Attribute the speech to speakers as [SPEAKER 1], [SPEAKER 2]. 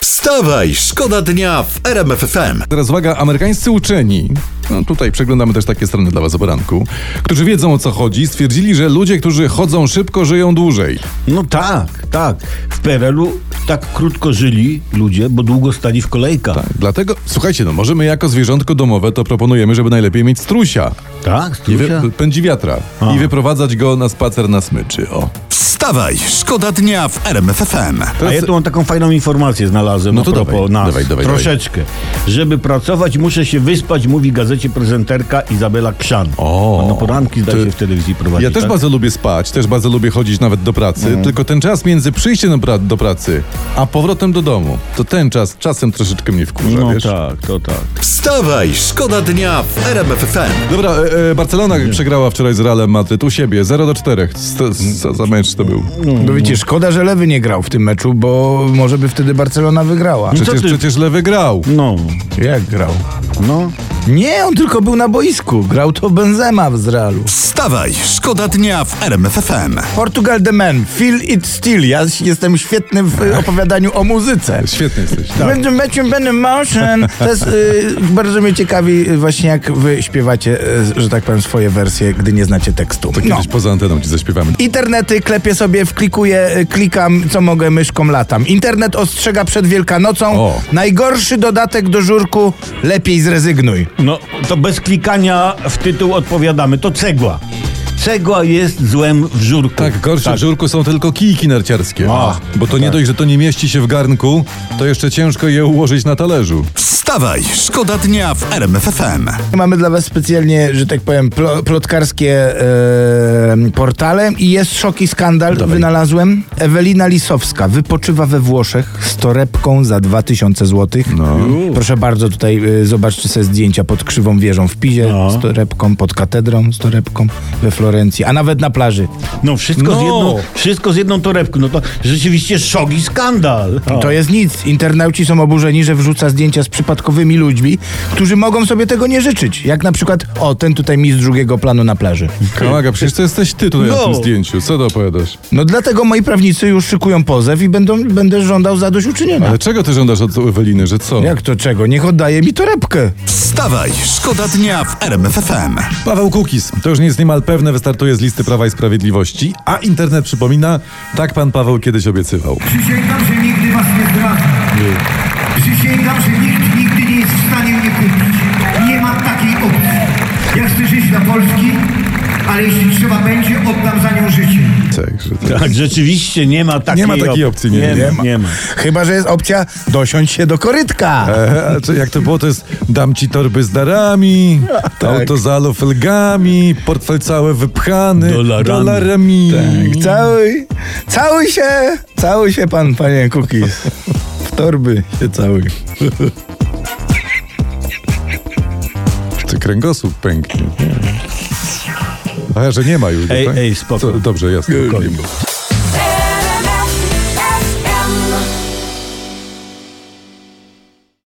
[SPEAKER 1] Wstawaj, szkoda dnia w RMF FM.
[SPEAKER 2] Teraz uwaga, amerykańscy uczeni, no tutaj przeglądamy też takie strony dla was o poranku, którzy wiedzą o co chodzi, stwierdzili, że ludzie, którzy chodzą szybko, żyją dłużej.
[SPEAKER 3] No tak, tak. W PRL-u tak krótko żyli ludzie, bo długo stali w kolejkach. Tak,
[SPEAKER 2] Dlatego, słuchajcie, no może my jako zwierzątko domowe to proponujemy, żeby najlepiej mieć strusia, I
[SPEAKER 3] Strusia?
[SPEAKER 2] wy, pędziwiatra
[SPEAKER 3] A.
[SPEAKER 2] i wyprowadzać go na spacer na smyczy, o.
[SPEAKER 1] Wstawaj, szkoda dnia w RMF FM.
[SPEAKER 3] A ja tu mam taką fajną informację znalazłem
[SPEAKER 2] No
[SPEAKER 3] no
[SPEAKER 2] to
[SPEAKER 3] to a propos
[SPEAKER 2] dawaj,
[SPEAKER 3] nas.
[SPEAKER 2] dawaj, dawaj,
[SPEAKER 3] Troszeczkę. Żeby pracować, muszę się wyspać, mówi gazecie prezenterka Izabela Krzan.
[SPEAKER 2] O.
[SPEAKER 3] Ona poranki zdaje
[SPEAKER 2] Ty-
[SPEAKER 3] się w telewizji prowadzi.
[SPEAKER 2] Ja też
[SPEAKER 3] tak?
[SPEAKER 2] bardzo lubię spać, też bardzo lubię chodzić nawet do pracy,
[SPEAKER 3] Mm.
[SPEAKER 2] tylko ten czas między przyjściem do, pra- do pracy, a powrotem do domu, to ten czas czasem troszeczkę mnie wkurza,
[SPEAKER 3] No
[SPEAKER 2] wiesz?
[SPEAKER 3] tak, to tak.
[SPEAKER 1] Wstawaj, szkoda dnia w RMF FM.
[SPEAKER 2] Dobra, e, e, Barcelona przegrała wczoraj z Realem Madryt u siebie, 0 do 4. Co za, za mecz to był?
[SPEAKER 4] No wiecie, szkoda, że Lewy nie grał w tym meczu, bo może by wtedy Barcelona wygrała.
[SPEAKER 2] Przecież,
[SPEAKER 3] ty-
[SPEAKER 2] przecież Lewy grał.
[SPEAKER 3] No,
[SPEAKER 4] Jak grał?
[SPEAKER 3] no.
[SPEAKER 4] Nie, on tylko był na boisku. Grał to Benzema z Realu.
[SPEAKER 1] Wstawaj, szkoda dnia w RMF FM.
[SPEAKER 4] Portugal the man, feel it still. Ja jestem świetny w y, opowiadaniu o muzyce.
[SPEAKER 2] Świetny jesteś.
[SPEAKER 4] Będę meczem, będę motion. To jest, y, bardzo mnie ciekawi y, właśnie jak wy śpiewacie, y, że tak powiem, swoje wersje, gdy nie znacie tekstu.
[SPEAKER 2] To
[SPEAKER 4] No.
[SPEAKER 2] kiedyś poza anteną ci zaśpiewamy.
[SPEAKER 4] Internety klepię sobie, wklikuję, y, klikam, co mogę, myszką latam. Internet ostrzega przed Wielkanocą.
[SPEAKER 2] O.
[SPEAKER 4] Najgorszy dodatek do żurku, lepiej zrezygnuj.
[SPEAKER 3] No, to bez klikania w tytuł odpowiadamy. To cegła. Cegła jest złem w żurku.
[SPEAKER 2] Tak, gorsze w żurku są tylko kijki narciarskie.
[SPEAKER 3] A,
[SPEAKER 2] bo to nie dość, że to nie mieści się w garnku, to jeszcze ciężko je ułożyć na talerzu.
[SPEAKER 1] Wstawaj, szkoda dnia w RMF FM.
[SPEAKER 4] Mamy dla was specjalnie, że tak powiem, plo, plotkarskie e, portale i jest szok i skandal, wynalazłem. Ewelina Lisowska wypoczywa we Włoszech z torebką za 2000 zł. Proszę bardzo, tutaj e, zobaczcie sobie zdjęcia pod krzywą wieżą w Pizie
[SPEAKER 3] No.
[SPEAKER 4] z torebką, pod katedrą z torebką we Florencji, a nawet na plaży.
[SPEAKER 3] No, wszystko,
[SPEAKER 2] No.
[SPEAKER 3] Z jedną, wszystko z jedną torebką. No to rzeczywiście szok i skandal.
[SPEAKER 4] I No To jest nic. Internauci są oburzeni, że wrzuca zdjęcia z przypadkowymi ludźmi, którzy mogą sobie tego nie życzyć. Jak na przykład, o, ten tutaj mistrz drugiego planu na plaży.
[SPEAKER 2] Kamaga, przecież to jesteś ty tutaj na
[SPEAKER 3] No.
[SPEAKER 2] tym zdjęciu. Co to opowiadasz?
[SPEAKER 4] No dlatego moi prawnicy już szykują pozew i będą, będę żądał zadośćuczynienia.
[SPEAKER 2] Ale czego ty żądasz od Eweliny, że co?
[SPEAKER 4] Jak to czego? Niech oddaje mi torebkę.
[SPEAKER 1] Wstawaj, szkoda dnia w RMF FM.
[SPEAKER 2] Paweł Kukiz, to już nie jest niemal pewne, wystartuje z listy Prawa i Sprawiedliwości, a internet przypomina, tak pan Paweł kiedyś obiecywał.
[SPEAKER 5] Przysięgam, że nigdy was nie zdradzę. Przysięgam, że nikt nigdy nie jest w stanie mnie kupić. Nie ma takiej opcji. Ja chcę żyć dla Polski, ale jeśli trzeba będzie, oddam za nią życie.
[SPEAKER 2] Także to-
[SPEAKER 3] Tak, rzeczywiście nie ma takiej
[SPEAKER 2] Nie ma takiej opcji, nie,
[SPEAKER 3] nie,
[SPEAKER 2] nie
[SPEAKER 3] ma. Nie ma.
[SPEAKER 4] Chyba, że jest opcja dosiąść się do korytka.
[SPEAKER 2] E, a co, jak to było, to jest dam ci torby z darami, auto z alufelgami, portfel cały wypchany,
[SPEAKER 3] Dolarami.
[SPEAKER 2] dolarami.
[SPEAKER 4] Tak, Całuj, całuj się, całuj się pan, panie Kukis. W torby się całuj.
[SPEAKER 2] Czy kręgosłup pęknie? Nie. A że nie ma już.
[SPEAKER 3] Ej,
[SPEAKER 2] tak?
[SPEAKER 3] ej, spoko.
[SPEAKER 2] Co, dobrze, jasne.
[SPEAKER 3] Spokojnie.